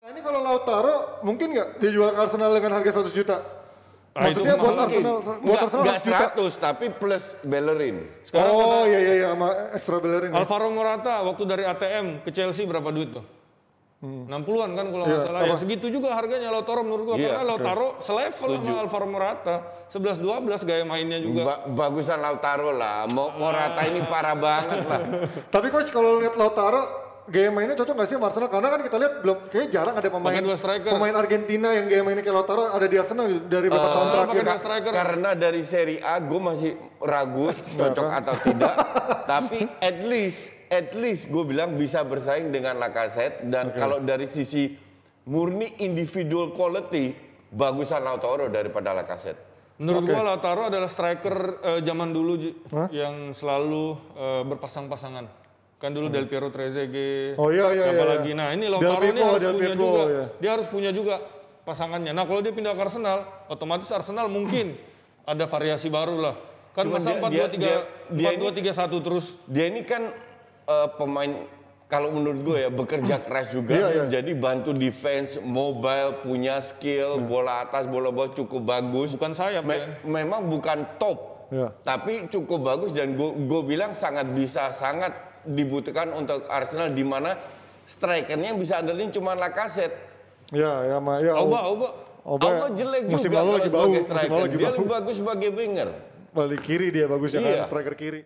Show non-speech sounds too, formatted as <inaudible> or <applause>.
Nah, mungkin nggak dia jual ke Arsenal dengan harga 100 juta? Ah, itu Maksudnya buat mahal lagi. Arsenal, buat Nggak, Arsenal nggak 100 juta. 100 tapi plus Bellerin. Sekarang oh iya iya iya sama extra bellerin. Iya. ya. Alvaro Morata waktu dari ATM ke Chelsea berapa duit tuh? Hmm. 60-an kan kalau nggak Iya, salah. Ya, segitu juga harganya Lautaro menurut gua Iya, karena Lautaro selevel Setuju. sama Alvaro Morata, 11-12 gaya mainnya juga. Ba- bagusan Lautaro lah. Mo- Morata ini parah banget lah. Tapi coach kalau lihat Lautaro gaya mainnya cocok nggak sih sama Arsenal? Karena kan kita lihat belum kayaknya jarang ada pemain Pakai dua striker. pemain Argentina yang gaya mainnya kayak Lautaro ada di Arsenal dari beberapa Eh, tahun Arsenal terakhir. pakai dua striker. Ya, Karena dari Serie A gue masih ragu cocok atau tidak. <laughs> Tapi at least, at least gue bilang bisa bersaing dengan Lacazette. Dan kalau dari sisi murni individual quality, bagusan Lautaro daripada Lacazette. Menurut Oke. gua Lautaro adalah striker eh, zaman dulu Ji, yang selalu eh, berpasang-pasangan. Kan dulu Del Piero Trezeguet. Hmm. Oh, iya, iya, siapa iya, lagi? iya. Nah, ini Del Lautaro ini Piero, harus Del punya Piero, juga. iya. Dia harus punya juga pasangannya. Nah, kalau dia pindah ke Arsenal, otomatis Arsenal <clears throat> mungkin ada variasi baru lah. Kan Cuman masa dia- dia- dia- dia 4-2-3 4-2-3-1 terus. Dia ini kan eh, pemain kalau menurut gue ya bekerja keras juga. Iya, iya. Jadi bantu defense, mobile, punya Iya. skill, bola atas, bola bawah cukup bagus. Bukan sayap, Me- ya. Memang bukan top, Iya. tapi cukup bagus dan gue gue bilang sangat bisa sangat dibutuhkan untuk Arsenal di mana strikernya yang bisa andelin cuma Lacazette. Ya ya sama ya. Oba, Oba. Oba Apa jelek ya. musim juga lalu kalau lagi bau, sebagai musim lalu striker. lagi Dia bau. lebih bagus sebagai winger. Balik kiri dia bagusnya Iya. kan striker kiri.